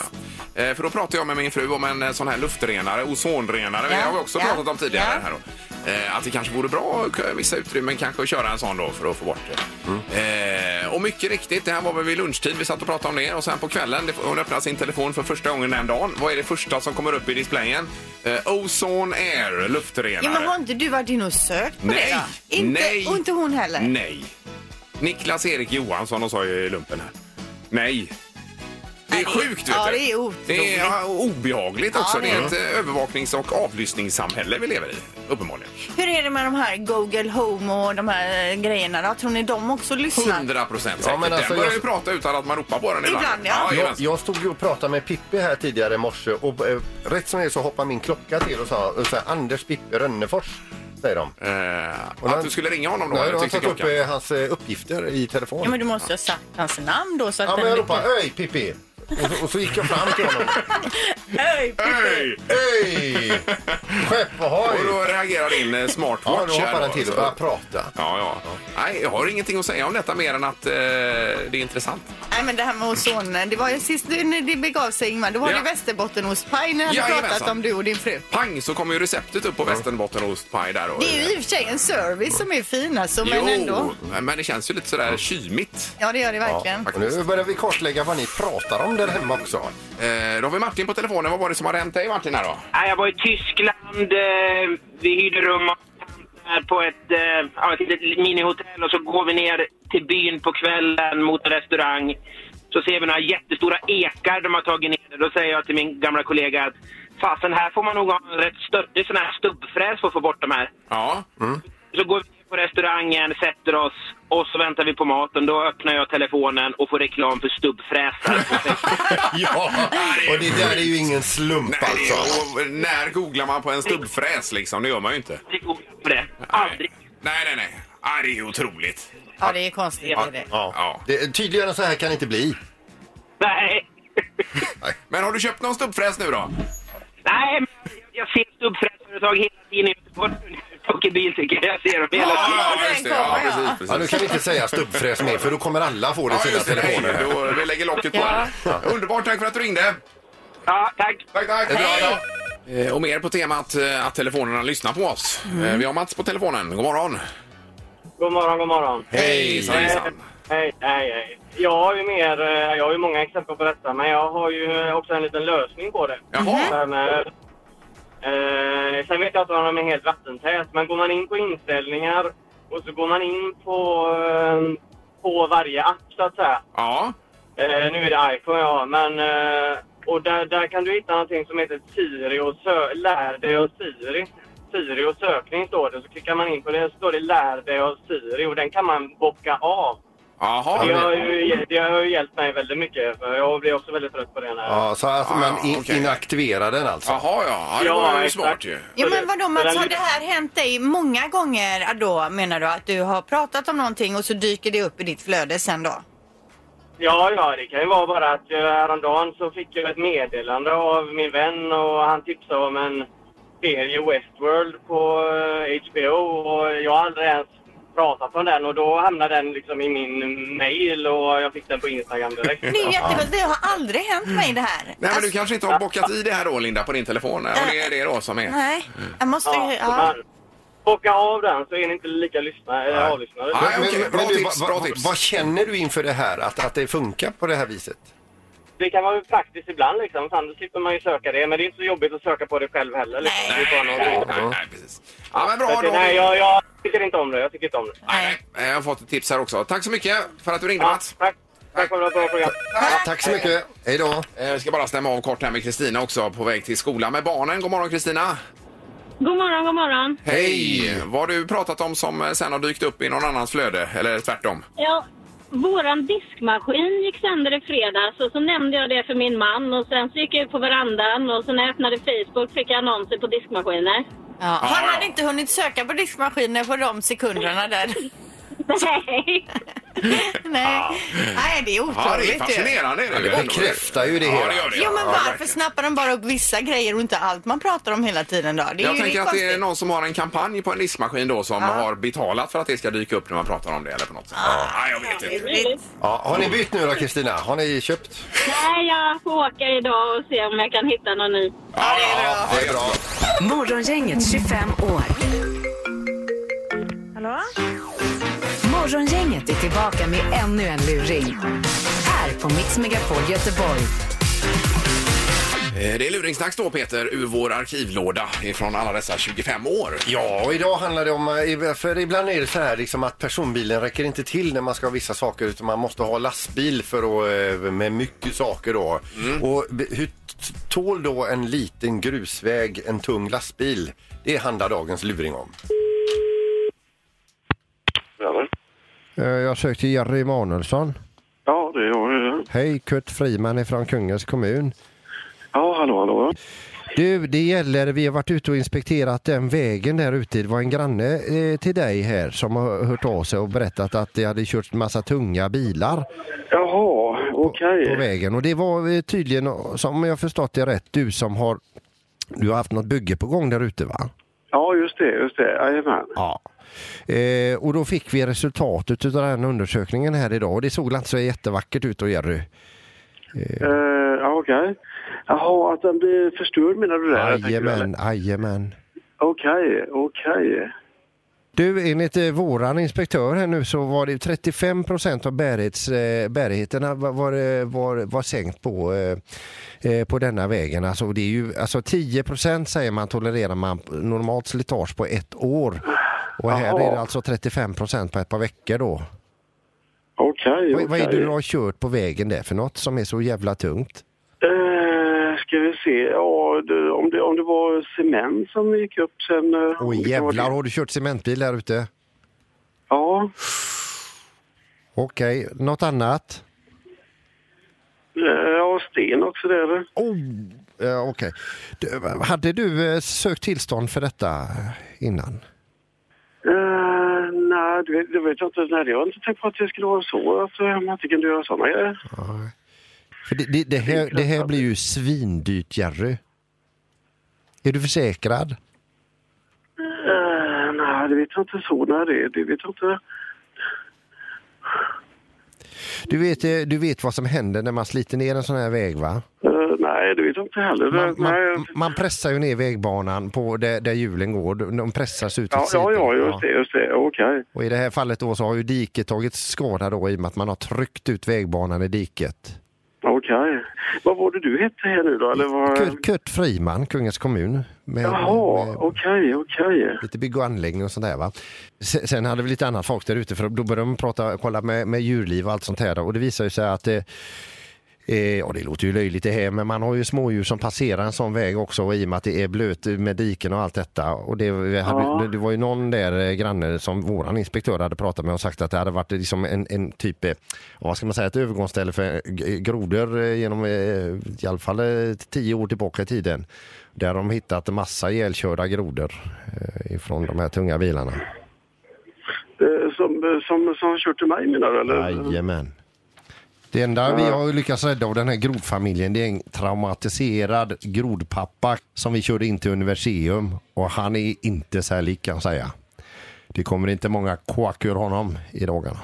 S2: Ja. Eh, för då pratade jag med min fru om en eh, sån här luftrenare, ozonrenare.
S3: Ja,
S2: Det har vi också
S3: ja,
S2: pratat om tidigare.
S3: ja.
S2: Här då. Eh, att det kanske vore bra att kö- vissa utrymmen kanske att köra en sån då för att få bort det. Eh, och mycket riktigt, det här var väl vid lunchtid vi satt och pratade om det och sen på kvällen, det, hon öppnade sin telefon för första gången den dagen. Vad är det första som kommer upp i displayen? Eh, ozone air, luftrenare.
S3: Ja, men har inte du varit inne och sökt på
S2: Nej!
S3: det då? Inte,
S2: nej,
S3: Och inte hon heller?
S2: Nej. Niklas Erik Johansson, och sa ju i lumpen här. Nej. Det är
S3: det-
S2: sjukt, vet
S3: ja,
S2: du.
S3: det är otroligt.
S2: Det är ja, obehagligt också.
S3: Ja,
S2: det
S3: det
S2: är
S3: är
S2: ett eh, övervaknings och avlyssningssamhälle vi lever i, uppenbarligen.
S3: Hur är det med de här Google Home och de här eh, grejerna då? Tror ni de också lyssnar?
S2: 100 procent säkert.
S4: Ja, men alltså,
S2: den börjar
S4: jag-
S2: ju prata utan att man ropar på den ibland.
S3: Ibland, ja.
S4: Jag,
S2: jajamän.
S4: jag stod ju och pratade med Pippi här tidigare i morse och eh, rätt som det är så hoppade min klocka till och sa, och sa Anders Pippi Rönnefors, säger de.
S2: Eh,
S4: Och
S2: att
S4: den-
S2: du skulle ringa honom då?
S4: Nej,
S2: eller
S4: de har
S2: tyckte
S4: tagit upp
S2: klockan?
S4: eh, hans eh, uppgifter i telefon.
S3: Ja, men du måste ju ha sagt hans namn då så att
S4: Ja, men
S3: den
S4: jag ropade öj Pippi! Och så, och så gick jag fram till honom.
S3: Öj,
S2: Hej!
S4: Öj! Skepp
S2: Och då
S4: ohoj!
S2: reagerar din eh, smartwatch.
S4: Ja, då hoppade
S2: här
S4: den till
S2: så-
S4: och började prata.
S2: Ja, ja. Nej, jag har ingenting att säga om detta mer än att eh, det är intressant.
S3: Nej men det här med ozon, det var ju sist du- när det begav sig Ingmar, då var
S2: Ja.
S3: det västerbottenostpaj när jag hade
S2: Jajamensan.
S3: pratat om du och din fru.
S2: Pang så kommer ju receptet upp på västerbottenostpaj där. Och,
S3: Det är ju i och för sig en service som är fin alltså, men ändå.
S2: men, men det känns ju lite sådär kymigt.
S3: Ja det gör det verkligen.
S4: Och nu börjar vi kartlägga vad ni pratar om där hemma också.
S2: Eh, då har vi Martin på telefonen. Vad var det som har hänt dig Martin här då?
S5: Nej, jag var i Tyskland. eh, Vi hyrde rum av tanter på ett, eh, ja, ett litet minihotell och så går vi ner till byn på kvällen mot en restaurang. Så ser vi några jättestora ekar de har tagit ner. Då säger jag till min gamla kollega att fasen här får man nog ha en rätt stöddig sån här stubbfräs för att få bort de här.
S2: Ja,
S4: Mm.
S5: Så går vi på restaurangen, sätter oss och så väntar vi på maten. Då öppnar jag telefonen och får reklam för stubbfräsar.
S4: Ja, och det där är ju ingen slump
S2: nej,
S4: alltså.
S2: och när googlar man på en stubbfräs liksom? Det gör man ju inte.
S5: Aldrig googla på det. Aldrig.
S2: Nej, nej, nej. Ah, det är ju otroligt.
S3: Ja det är konstigt. det är det.
S4: Ja.
S2: Ja.
S4: Det, tydligare än så här kan det inte bli.
S5: Nej.
S2: Men har du köpt någon stubbfräs nu då?
S5: Nej, men jag ser stubbfräsföretag hela tiden i Göteborg. Jag åker bil tycker jag. Jag ser dem hela tiden.
S3: Ja, den
S2: det. Ja,
S3: kommer, ja.
S2: precis,
S4: Ja, nu
S2: precis.
S4: kan vi inte säga stubbfräs mer för då kommer alla få det i
S2: Ja,
S4: sina
S2: just det.
S4: telefoner.
S2: Nej, då- Vi lägger locket på.
S3: Ja.
S2: här. Underbart, tack för att du ringde.
S5: Ja, tack.
S2: Tack, tack.
S3: Hej.
S2: Bra då. Eh, Och mer på temat eh, att telefonerna lyssnar på oss.
S9: Mm.
S2: Eh, Vi har Mats på telefonen. God morgon.
S9: God morgon, god morgon. Eh,
S2: Hejsan, hejsan.
S9: Hej, hej, hej. Jag har ju mer, eh, jag har ju många exempel på detta, men jag har ju också en liten lösning på det.
S2: Jaha.
S9: Men, eh, eh, sen vet jag inte om de är helt vattentät, men går man in på inställningar och så går man in på, eh, på varje app så att säga.
S2: Ja,
S9: Eh, nu är det iPhone jag har, men... Eh, och där, där kan du hitta någonting som heter Siri och sö- Lär dig av Siri. Siri och sökning står det. Så klickar man in på det så står det Lär dig av Siri och den kan man bocka av.
S2: jaha.
S9: Det har ju, det har ju hjälpt mig väldigt mycket för jag blir också väldigt trött på det när...
S4: Ja, så att
S2: Ja,
S4: man in,
S2: ja, Ah, okej.
S4: inaktiverar den alltså.
S2: Jaha, ja. ja det
S9: Ja,
S2: var ju
S9: exakt.
S2: smart ju.
S3: Ja,
S9: Så
S3: men
S9: det-
S3: vadå
S9: så
S3: Mats,
S9: den
S3: har det
S9: lite-
S3: här hänt dig många gånger då menar du? Att du har pratat om någonting och så dyker det upp i ditt flöde sen då?
S9: Ja, ja, det kan ju vara bara att eh, häromdagen så fick jag ett meddelande av min vän och han tipsade om en serie Westworld på eh, HBO och jag har aldrig ens pratat om den och då hamnade den liksom i min mail och jag fick den på Instagram direkt.
S3: Det är ju jättebra, det har aldrig hänt mig det här.
S2: Nej, men du
S3: Alltså,
S2: kanske inte har bockat i det här då, Linda, på din telefon? Och det är det då som är...
S3: Nej, jag måste
S9: Ja,
S3: ju...
S9: så
S3: Ja.
S9: man- Bocka av den så är ni inte lika lyssna- eller avlyssnade.
S2: Nej. okej, bra
S4: du,
S2: tips,
S4: vad-
S2: bra
S4: vad-
S2: tips.
S4: Vad känner du inför det här, att, att det funkar på det här viset?
S9: Det kan vara praktiskt ibland liksom, fan då slipper man ju söka det. Men det är inte så jobbigt att söka på det själv heller. Liksom. Det är bara
S2: Nej,
S9: något-
S2: nej, precis. Ja, men bra
S9: Så
S2: då.
S9: att, Nej, jag, jag tycker inte om det. Jag tycker inte om det.
S2: Nej, nej, jag har fått ett tips här också. Tack så mycket för att du ringde,
S9: Ja,
S2: Mats.
S9: tack. Tack för ett bra program.
S4: Ja, tack så mycket. Hej då.
S2: Eh, Jag ska bara stämma av kort här med Kristina också på väg till skolan med barnen. God morgon Kristina!
S6: God morgon, god morgon.
S2: Hej! Vad har du pratat om som eh, sen har dykt upp i någon annans flöde? Eller tvärtom?
S6: Ja, våran diskmaskin gick sönder i fredags och så nämnde jag det för min man och sen så gick jag ut på verandan och så när jag öppnade Facebook fick jag annonser på diskmaskiner.
S3: Ja. Han
S2: ja.
S3: hade inte hunnit söka på diskmaskinen på de sekunderna där.
S6: Nej.
S3: Nej. Nej, det är otroligt
S2: Ja, det är
S3: ju.
S2: fascinerande. är
S4: det bekräftar ju det
S2: Ja,
S4: hela.
S2: det gör det.
S3: Jo, men
S2: Ja,
S3: varför
S2: verkligen.
S3: snappar de bara upp vissa grejer och inte allt man pratar om hela tiden då? Det är
S2: Jag
S3: ju
S2: tänker att
S3: konstigt.
S2: det är någon som har en kampanj på en diskmaskin då som
S3: Ja. Ah.
S2: har betalat för att det ska dyka upp när man pratar om det eller på något sätt. Ja, nej, jag vet inte.
S3: Det-
S4: Ja, har ni bytt nu då Kristina? Har ni köpt?
S6: Nej, jag får åka idag och se om jag kan hitta någon ny.
S2: Ja, ja, ja,
S4: Det är bra.
S1: Morgongänget 25 år.
S6: Hallå?
S1: Morgongänget är tillbaka med ännu en luring. Här på Mix Megapol Göteborg.
S2: Eh, Det är luringsdags då Peter ur vår arkivlåda ifrån alla dessa 25 år.
S4: Ja, och idag handlar det om, eh, för ibland är det så här liksom att personbilen räcker inte till när man ska ha vissa saker utan man måste ha lastbil för att, eh, med mycket saker då. Och b- hur t- tål då en liten grusväg en tung lastbil? Det handlar dagens luring om. Eh, Jag sökte Jerry Emanuelsson.
S10: Ja, det är jag.
S4: Hej, Kurt Friman ifrån Kungens kommun.
S10: Ja, hallå, hallå.
S4: Du, det gäller, vi har varit ute och inspekterat den vägen där ute. Det var en granne eh, till dig här som har hört av sig och berättat att det hade kört massa tunga bilar
S10: Jaha, okej.
S4: på vägen. Och det var eh, tydligen, som jag förstått det rätt, du som har, du har haft något bygge på gång där ute va?
S10: Ja, just det, just det. Jajamän.
S4: Ja. Eh, och då fick vi resultatet av den här undersökningen här idag och det såg alltså jättevackert ut då Jerry.
S10: Eh, Ja, okej. Jaha, att den blir förstörd menar du det? Jag tänker, eller?
S4: Jajamän, jajamän.
S10: Okej, okej.
S4: Du, enligt eh, våran inspektör här nu så var det 35 procent av bärighets, eh, bärigheterna var, var, var, var sänkt på, eh, eh, på denna vägen. Alltså, det är ju, alltså 10 procent säger man tolererar man normalt slitage på ett år. Och här
S10: Jaha.
S4: är det alltså 35 procent på ett par veckor då.
S10: Okej,
S4: Vad, vad är det
S10: okej.
S4: du har kört på vägen där för något som är så jävla tungt?
S10: Eh, ska vi se. Ja, det, om, det, om det var cement som gick upp sen... eh, om
S4: Åh
S10: det var
S4: jävlar,
S10: det.
S4: har du kört cementbil där ute?
S10: Ja.
S4: Okej, något annat?
S10: eh, Ja, sten också där.
S4: Oh, eh, Okej. Du, Hade du eh, sökt tillstånd för detta innan?
S10: Eh, nej, det, vet- det vet jag inte. Nej, jag har inte tänkt på att det skulle vara så. Att eh, man inte kan göra sådana grejer.
S4: För det, det, det, här, det här blir ju svindyrt, Jerry. Är du försäkrad?
S10: Eh, nej, det vet jag inte så. Nej, det, det vet jag inte.
S4: Du vet, eh, du vet vad som händer när man sliter ner en sån här väg, va?
S10: Eh, nej, det vet jag inte heller.
S4: Man,
S10: nej,
S4: man, man pressar ju ner vägbanan på där, där hjulen går. De de pressas ut åt
S10: ja, ja, ja,
S4: sidorna.
S10: just det. Just det. Okej.
S4: Och i det här fallet då så har ju diket tagit skada då i och med att man har tryckt ut vägbanan i diket.
S10: Okej, okej. Vad var det du hette här nu då? Eller vad...
S4: Kurt, Kurt Friman, Kungens kommun. Med,
S10: Jaha,
S4: med
S10: okej, okej.
S4: lite bygg och anläggning och sånt där va. Se- Sen hade vi lite annat folk där ute för då började de prata, kolla med, med djurliv och allt sånt här och det visar ju sig att eh, Eh, ja, det låter ju löjligt det här, men man har ju smådjur som passerar en sån väg också och i och med att det är blöt med diken och allt detta. Och det, vi hade,
S10: Ja.
S4: det, det var ju någon där eh, granne som våran inspektör hade pratat med och sagt att det hade varit liksom en, en typ, eh, ja, vad ska man säga, ett övergångsställe för eh, g- grodor eh, genom eh, i alla fall eh, tio år tillbaka i tiden. Där de hittat massa ihjälkörda grodor eh, ifrån de här tunga bilarna.
S10: Eh, Som, eh, som, som har kört till mig menar du? Eller?
S4: Jajamän. Det enda vi har lyckats rädda av den här grodfamiljen det är en traumatiserad grodpappa som vi körde in till Universium och han är inte särlig kan jag säga. Det kommer inte många kåk ur honom i dagarna.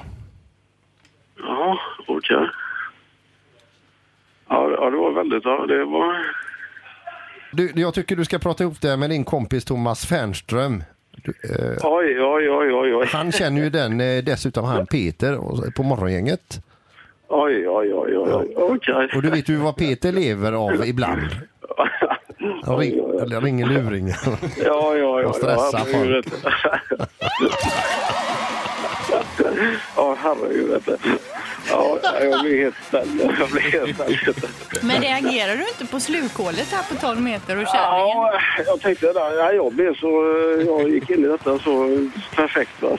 S10: Jaha, okej. Ja, det- ja, det var väldigt... Ja, det var...
S4: Du, jag tycker du ska prata ihop det här med din kompis Thomas Fernström. Du, eh,
S10: Oj, oj, oj, oj, oj.
S4: han känner ju den eh, dessutom han Peter och- på morgongänget.
S10: Oj, oj, oj, oj, oj. Okej.
S4: Och du vet ju vad Peter lever av ibland. Han ring, ringer luringen.
S10: Ja, ja, ja.
S4: Och stressa
S10: ja, herregud,
S4: folk.
S10: vet du. Ja, herregud. vet du. Ja, jag blir helt ställd. Jag blir helt ställd.
S3: Men reagerar du inte på slukhålet här på 12 meter och kärringen?
S10: Ja, jag tänkte det. där. Ja, jag blev så... Jag gick in i detta så perfekt. Va?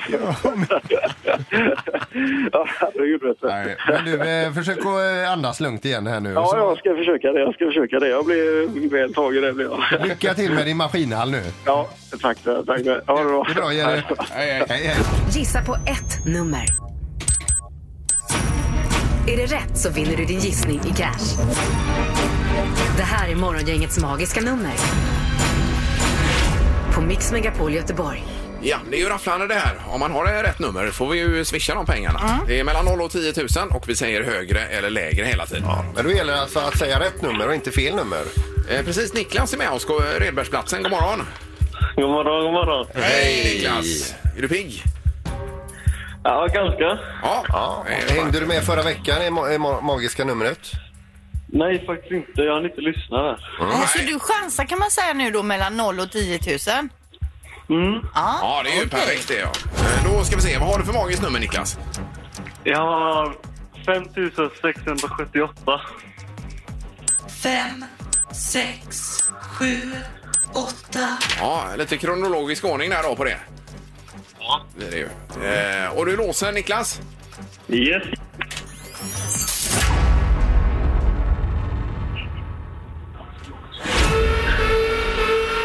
S10: Ja, herregud. vet du.
S4: Nej, men du, eh, försök att eh, andas lugnt igen här nu.
S10: Ja,
S4: Så-
S10: jag ska försöka det. Jag ska försöka det. Jag blir väl tagen. Det blir jag.
S4: Lycka till med din maskinhall nu.
S10: Ja, tack. tack. Ha det bra.
S4: Det är bra, Jerry. Hej, hej.
S1: Gissa på ett nummer. Är det rätt så vinner du din gissning i cash. Det här är Morgongängets magiska nummer. På Mix Megapol Göteborg.
S2: Ja, det är ju rafflande det här. Om man har eh, rätt nummer får vi ju swisha de pengarna. Det är mellan 0 och 10 000 och vi säger högre eller lägre hela tiden.
S11: Men då gäller det alltså att säga rätt nummer och inte fel nummer.
S2: Eh, precis, Niklas är med oss, Gå- eh, Redbergsplatsen. God morgon!
S12: God morgon, god morgon.
S2: Hej Niklas! Är du pigg?
S12: Ja, ganska.
S2: Ja.
S11: Ja,
S2: Eh,
S11: hängde du med förra veckan i ma- i ma- magiska numret?
S12: Nej, faktiskt inte. Jag hann inte lyssna där.
S3: Ja, Så du chansar kan man säga nu då mellan 0 och 10 000?
S2: Ja, det är ju
S3: okej.
S2: perfekt det ja. Eh, Då ska vi se, vad har du för magiskt nummer Niklas?
S12: Jag har 5678.
S6: Fem, sex, sju, åtta.
S2: Ja, lite kronologisk ordning där då på det. Ja. Det är det ju. Eh, och du låser Niklas?
S12: Yes.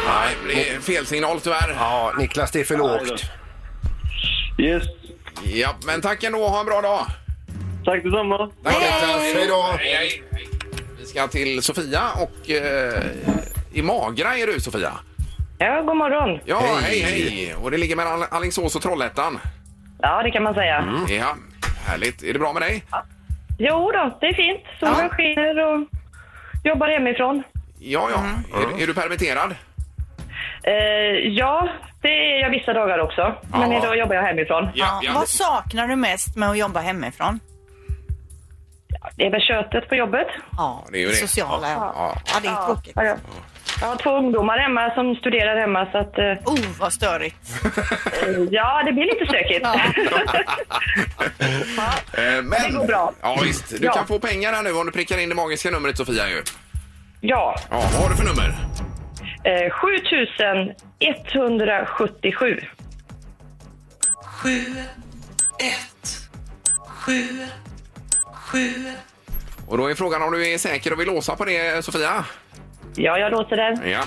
S2: Nej, det är fel signal tyvärr. Ja.
S11: Ja, Niklas, det är för lågt.
S12: Yes.
S2: ja, men tack ändå ha en bra dag.
S12: Tack detsamma.
S2: Tack
S11: Niklas, hej då!
S2: Hej, hej, hej. Vi ska till Sofia och eh, i Magra är du Sofia.
S6: Ja, god morgon.
S2: Ja, hej, hej. Och det ligger mellan Alingsås och Trollhättan.
S6: Ja, det kan man säga.
S10: Mm.
S2: Ja, härligt. Är det bra med dig?
S6: Jo då, det är fint. Solen
S2: Ja.
S6: skiner och jobbar hemifrån.
S2: Ja, ja.
S6: Mm.
S2: Är, är du permitterad?
S6: Eh, ja, det är jag vissa dagar också. Men
S2: Ja.
S6: idag jobbar jag hemifrån.
S3: Ja, Vad saknar du mest med att jobba hemifrån?
S6: Det är väl köttet på jobbet.
S3: Ja,
S2: det är ju det.
S3: sociala. Ja,
S2: Ja.
S3: det är tråkigt.
S6: Ja, ja. Jag har två ungdomar hemma som studerar hemma så att eh,
S3: Oh, vad störigt.
S6: ja, det blir lite stökigt.
S3: Ja.
S2: Eh, Men,
S6: det går bra.
S2: Ja, visst. Du
S6: Ja.
S2: kan få pengar här nu om du prickar in det magiska numret Sofia ju.
S6: ja,
S2: Ja, vad har du för nummer?
S6: eh, 7177.
S13: Sju, ett, sju, sju.
S2: Och då är frågan om du är säker och vill låsa på det Sofia?
S6: Ja, jag låter den.
S2: Ja.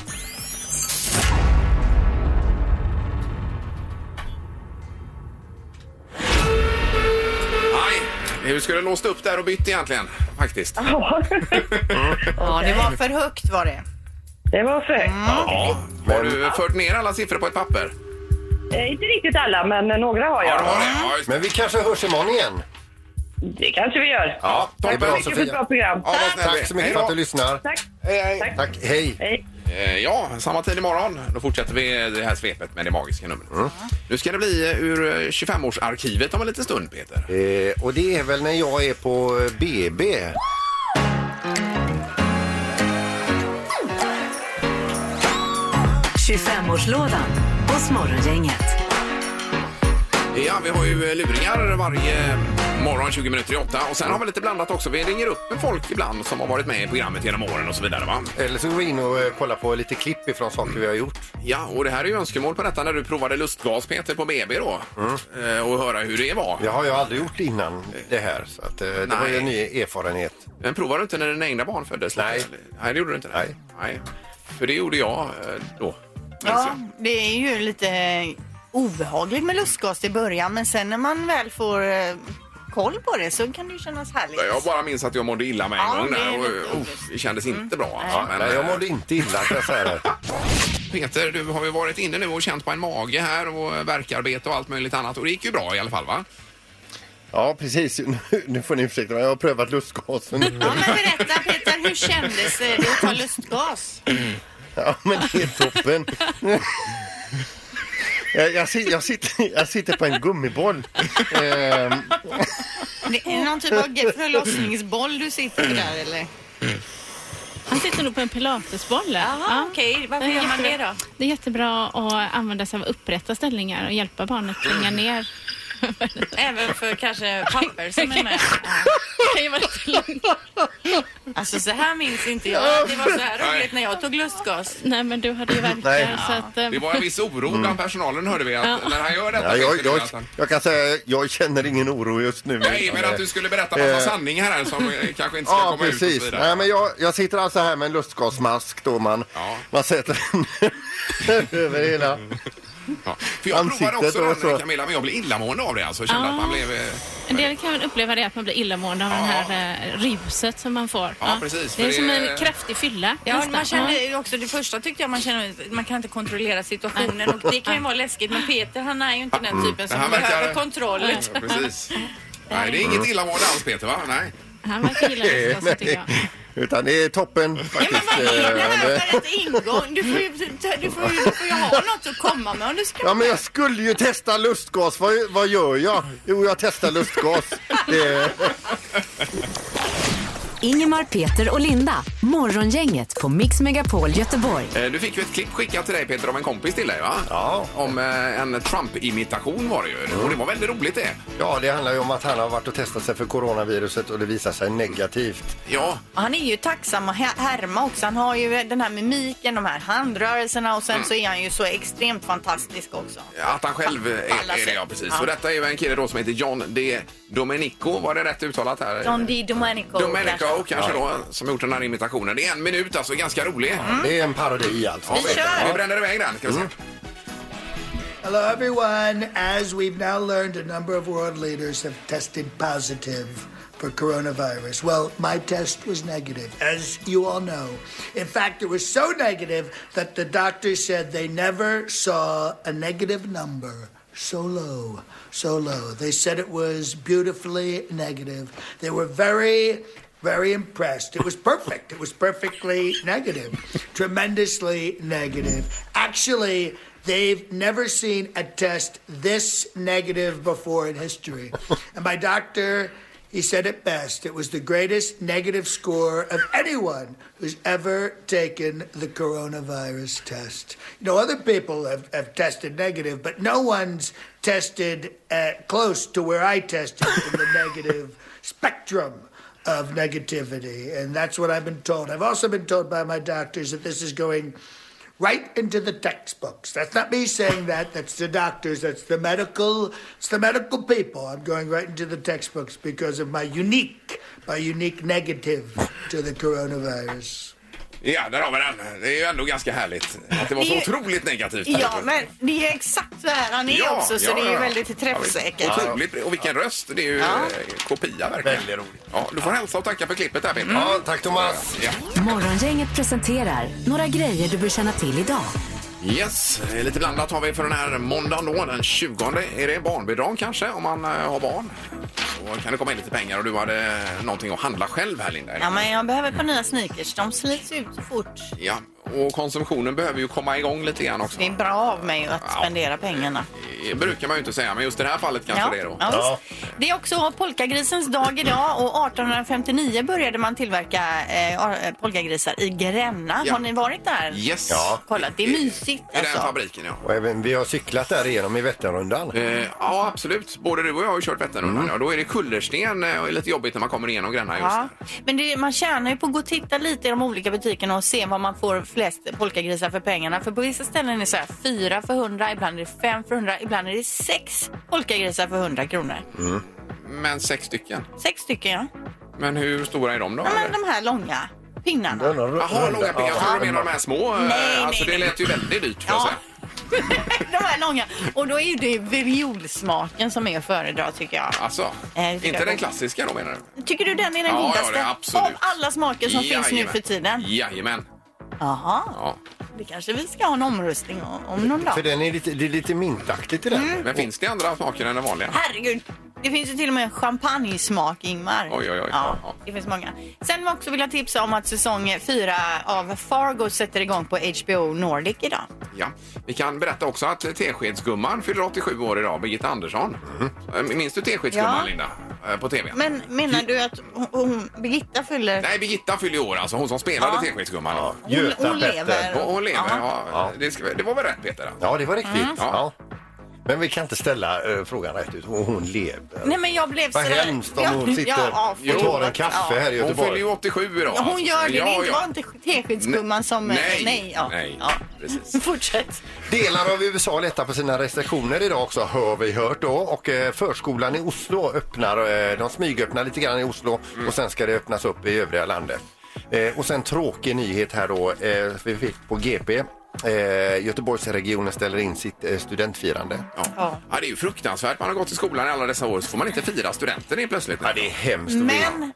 S2: Nej, du skulle låst upp där och bytt egentligen faktiskt.
S6: Mm.
S3: Ja, det var för högt var det.
S6: det var för högt.
S2: Mm. Ja. Har du fört ner alla siffror på ett papper?
S6: Eh, inte riktigt alla, men eh, några har jag.
S2: Ja, du har det. Ja, just det.
S11: Men vi kanske hörs imorgon igen.
S6: Det kanske vi gör.
S2: Ja,
S11: det är bra,
S2: toppen.
S6: Mycket för ett bra
S11: Sofia.
S6: program.
S2: Ja, vad snäll du är.
S11: Tack så mycket
S2: Hej
S11: för att
S2: då.
S11: du lyssnar.
S6: Tack.
S2: Hej, hej.
S6: Tack.
S11: Tack, hej.
S6: Hej.
S2: Eh, Ja, samma tid imorgon. Då fortsätter vi det här svepet med det magiska numret.
S11: Mm.
S2: Nu ska det bli eh, ur eh, 25-årsarkivet om en liten stund, Peter.
S11: Eh, och det är väl när jag är på eh, BB.
S1: 25-årslådan hos Morgongänget.
S2: Ja, vi har ju eh, luringar varje eh, morgon 20 minuter i åtta. Och sen har vi lite blandat också. Vi ringer upp folk ibland som har varit med i programmet genom åren och så vidare. Va?
S4: Eller så går vi in och eh, kollar på lite klipp ifrån saker vi har gjort.
S2: Ja, och det här är ju önskemål på detta när du provade lustgas Peter på BB då.
S11: Mm.
S2: Eh, Och höra hur det var.
S4: Det har jag aldrig gjort innan det här. Så att, eh, det var ju en ny erfarenhet.
S2: Men provade du inte när dina egna barn föddes? Nej. Nej, det gjorde du inte. Nej. Nej. För det gjorde jag eh, då. Alltså,
S3: Ja, det är ju lite obehagligt med lustgas i början men sen när man väl får eh, koll på det så kan det ju kännas härligt.
S2: Jag bara minns att jag mådde illa med en
S3: Ja,
S2: gång
S3: det är
S2: där. Och,
S3: lite
S2: oh, det kändes
S3: Mm.
S2: inte bra. alltså. eh,
S4: Ja, nej,
S14: eh,
S4: jag mådde inte illa kan jag säga det.
S2: Peter, du har ju varit inne nu och känt på en mage här och verkarbete och allt möjligt annat. Och det gick ju bra i alla fall va?
S14: Ja, precis. Nu, nu får ni ursäkta mig. Jag har prövat lustgasen.
S4: Mm.
S3: Berätta Peter, hur kändes det att ta lustgas?
S14: Ja, men det är toppen. Jag, jag, sit- jag, sitter, jag sitter på en gummiboll. Ehm,
S3: Det är någon typ av förlossningsboll du sitter på där eller?
S15: Han sitter nog på en pilatesboll.
S3: Jaha, okej. Varför gör man det då?
S15: Det är jättebra att använda sig av upprätta ställningar och hjälpa barnet att tvinga ner.
S16: Även för kanske papper som är med. Alltså så här minns inte jag. Det var så här roligt när jag tog lustgas.
S15: Nej, men du hade ju verkar.
S14: Nej.
S15: Så att, eh,
S3: Mm.
S2: Det var en viss oro bland personalen hörde vi. Att
S15: Ja.
S2: När han gör detta
S14: Mm. ja, jag,
S2: Peter,
S14: jag,
S2: att han-
S14: jag kan säga jag känner ingen oro just nu.
S2: Nej, men att du skulle berätta massa
S14: Eh,
S2: sanningar här som eh, kanske inte ska
S14: Ja,
S2: komma ut och
S14: precis.
S2: så vidare.
S14: Nej, men jag, jag sitter alltså här med en lustgasmask då man, man sätter den över hela
S4: Mm.
S2: Ja. För jag provade
S14: ansiktet och
S2: också den
S14: så.
S2: Camilla, men jag blev illamående av det alltså. Jag kände
S15: Ah.
S2: att man blev... eh,
S15: En del kan väl uppleva det att man blir illamående av det här eh, ruset som man får. Ja,
S2: precis,
S15: Det är
S2: för
S15: som
S2: det-
S15: en kraftig fylla.
S16: Ja,
S15: nästan.
S16: man kände
S15: Ja.
S16: ju också, det första tyckte jag man kände att man kan inte kontrollera situationen och det kan ju vara läskigt men Peter han är ju inte den
S2: Mm.
S16: typen som
S2: Han verkar-
S16: behöver kontroll.
S2: Ja, precis. Nej, det är inget illamående alls Peter va? Nej.
S15: Han verkar gilla lustgas tycker jag.
S14: Utan det är toppen faktiskt. Eh,
S16: För att ingång, du får ju, du får ju, du får ju ha något att komma med om du ska
S14: Ja men jag skulle ju testa lustgas. Vad, vad gör jag? Jo jag testar lustgas. Det...
S1: Ingemar, Peter och Linda. Morgongänget på Mix Megapol Göteborg.
S2: Eh, Du fick ju ett klipp skickat till dig Peter av en kompis till dig va? Ja. Om eh, en Trump-imitation var det ju. Och det var väldigt roligt det.
S4: Ja, det handlar ju om att han har varit och testat sig för coronaviruset och det visar sig negativt.
S2: Ja.
S3: Och Han är ju tacksam att här- härma också. Han har ju den här mimiken, de här handrörelserna och sen
S14: Mm.
S3: så är han ju så extremt fantastisk också.
S2: Att han själv är,
S3: alla
S2: är det,
S3: sätt.
S2: ja precis.
S3: Ja.
S2: Och detta är ju en kille då som heter John D. Domenico, var det rätt uttalat här?
S16: John D. Domenico.
S2: Domenico
S16: Ja.
S2: kanske, då, som har gjort den här imitationen. Det är en minut alltså, ganska rolig.
S4: Det är en parodi alltså.
S2: Ja, vi, vi bränner iväg den. Ska vi se.
S11: Hello, everyone. As we've now learned, a number of world leaders have tested positive for coronavirus. Well, my test was negative, as you all know. In fact, it was so negative that the doctors said they never saw a negative number so low, so low. They said it was beautifully negative. They were very very impressed. It was perfect. It was perfectly negative, tremendously negative. Actually, they've never seen a test this negative before in history. And my doctor, he said it best. It was the greatest negative score of anyone who's ever taken the coronavirus test. You know, other people have, have tested negative, but no one's tested uh, close to where I tested in the negative spectrum of negativity. And that's what I've been told. I've also been told by my doctors that this is going right into the textbooks. That's not me saying that. That's the doctors. That's the medical. It's the medical people. I'm going right into the textbooks because of my unique, my unique negative to the coronavirus.
S2: Ja, där har vi den. Det är ju ändå ganska härligt att det var så
S3: Det-
S2: otroligt negativt.
S3: Ja, men det är exakt så här han är
S2: Ja,
S3: också så
S2: ja,
S3: det är ju
S2: ja.
S3: väldigt träffsäkert.
S2: Ja, Otroligt. Och vilken röst. Det är ju
S3: Ja.
S2: eh, kopia verkligen. Väldigt roligt. Mm. Ja, du får hälsa och tacka för klippet där Peter.
S4: Ja, tack Thomas.
S2: Ja.
S1: Morgongänget presenterar några grejer du bör känna till idag.
S2: Yes, eh, lite blandat har vi för den här måndagen då, den 20. Är det barnbidrag kanske om man eh, har barn? Då kan det komma in lite pengar och du hade eh, någonting att handla själv här Linda.
S3: Ja, men jag behöver ett par nya sneakers. De slits ut så fort.
S2: Ja, Och konsumtionen behöver ju komma igång lite grann också.
S3: Det är bra av mig att spendera pengarna.
S2: Det brukar man ju inte säga, men just i det här fallet kanske det är då.
S3: ja, visst. Det är också polkagrisens dag idag och 1859 började man tillverka eh, ar- eh, polkagrisar i Gränna.
S4: Ja.
S3: Har ni varit där?
S2: Yes.
S4: Ja.
S3: Kolla, det är mysigt. alltså.
S2: den fabriken, ja.
S4: Och även, vi har cyklat där igenom i Vätternrundan.
S2: Eh, Ja, absolut. Både du och jag har ju kört Vätternrundan. Ja, då är det kullersten eh, och det är lite jobbigt när man kommer igenom Gränna just.
S3: Mm. Ja. Men det, man tjänar ju på att gå och titta lite i de olika butikerna och se vad man får flest polkagrisar för pengarna. För på vissa ställen är det så här 4 för 100, ibland är det 5 för 100, ibland är det 6 polkagrisar för 100 kronor.
S2: Men sex stycken.
S3: Sex stycken ja.
S2: Men hur stora är de då?
S3: ja men de här långa pinnarna.
S2: Jaha, långa ben. Jag tror du menar de här små. eh,
S3: Nej,
S2: alltså, det lät ju väldigt dyrt. får jag säga.
S3: De här långa. Och då är det violsmaken som är att föredra tycker jag.
S2: Alltså,
S3: Eh, tycker
S2: inte
S3: jag-
S2: den klassiska då menar du?
S3: Tycker du den är den
S2: Ja, ja,
S3: godaste
S2: det är absolut.
S3: av alla smaker som finns nu
S2: Jajamän.
S3: för tiden?
S2: Jajamän.
S3: Jaha,
S2: Ja.
S3: det kanske vi ska ha en omröstning om, om någon dag.
S4: För den är lite, det är lite mintaktigt i den.
S3: Mm.
S2: Men finns det andra smaker än den vanliga?
S3: Herregud! Det finns ju till och med en champagnesmak, Ingmar.
S2: Oj, oj, oj.
S3: Ja,
S2: Ja.
S3: det finns många. Sen också vill jag tipsa om att säsong fyra av Fargo sätter igång på HBO Nordic idag.
S2: Ja. Vi kan berätta också att Teskedsgumman fyller 87 år idag, Birgitta Andersson. Eh, Minns du Teskedsgumman,
S3: Mm-hmm. Ja.
S2: Linda? Eh, På tv?
S3: Men menar du att hon, hon, Birgitta fyller...
S2: Nej, Birgitta fyller ju år, alltså hon som spelade
S3: Ja.
S2: Teskedsgumman.
S3: Hon- Göta hon Petter. lever.
S2: Hon, hon lever, ja.
S3: Ja.
S2: Det, ska, det var väl rätt, Peter?
S4: Ja, det var riktigt.
S3: Mm.
S4: Ja. Men vi kan inte ställa eh, frågan rätt ut. Hon hon lever.
S3: Nej, men jag blev
S4: Vad
S3: sådär-
S4: hemskt om hon sitter
S3: förlåt.
S4: och tar en kaffe
S3: Ja.
S4: här i
S2: Hon
S4: Göteborg.
S2: fyller ju 87 idag.
S3: Ja, hon
S2: alltså.
S3: gör det.
S2: Ja,
S3: det inte-
S2: ja.
S3: var inte Teskedsgumman som... eh,
S2: Nej,
S3: nej ja.
S2: nej.
S3: Ja.
S2: Precis.
S3: Fortsätt.
S4: Delar av USA lättar på sina restriktioner idag också har vi hört då och eh, förskolan i Oslo öppnar, eh, de smygöppnar lite grann i Oslo och sen ska det öppnas upp i övriga landet. Eh, Och sen tråkig nyhet här då, eh, vi fick på GP. Eh, Göteborgsregionen ställer in sitt eh, studentfirande.
S2: Ja. ja, det är ju fruktansvärt. Man har gått i skolan i alla dessa år så får man inte fira studenten helt plötsligt. Ja,
S4: det är hemskt.
S3: Men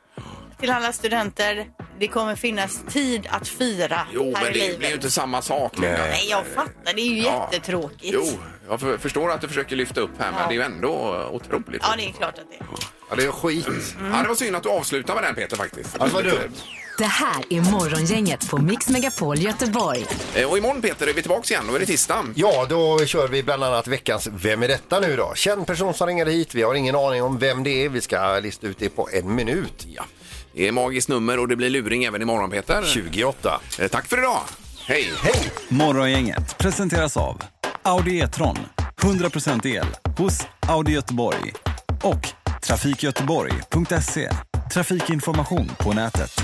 S3: till alla studenter, det kommer finnas tid att fira
S2: Jo,
S3: här
S2: men
S3: i
S2: det
S3: livet.
S2: blir ju inte samma sak. Linda.
S3: Nej, jag fattar. Det är ju
S2: Ja.
S3: jättetråkigt.
S2: Jo, jag för- förstår att du försöker lyfta upp här, men
S3: Ja.
S2: det är ju ändå eh, otroligt.
S3: Ja, det är klart att det är.
S4: Ja, det är skit.
S2: Ja, det var synd att du avslutade med den, Peter, faktiskt.
S4: Ja, det var dumt.
S1: Det här är Morgongänget på Mix Megapol Göteborg.
S2: Eh, Och imorgon, Peter, är vi tillbaka igen. Då är det tisdag.
S4: Ja, då kör vi bland annat veckans Vem är detta nu då? Känd person som ringer hit. Vi har ingen aning om vem det är. Vi ska lista ut det på en minut.
S2: Ja. Det är magiskt nummer och det blir luring även imorgon, Peter.
S4: 28.
S2: Eh, Tack för idag. Hej!
S4: Hej!
S17: Morgongänget presenteras av Audi E-tron. 100% el hos Audi Göteborg. Och trafikgöteborg.se. Trafikinformation på nätet.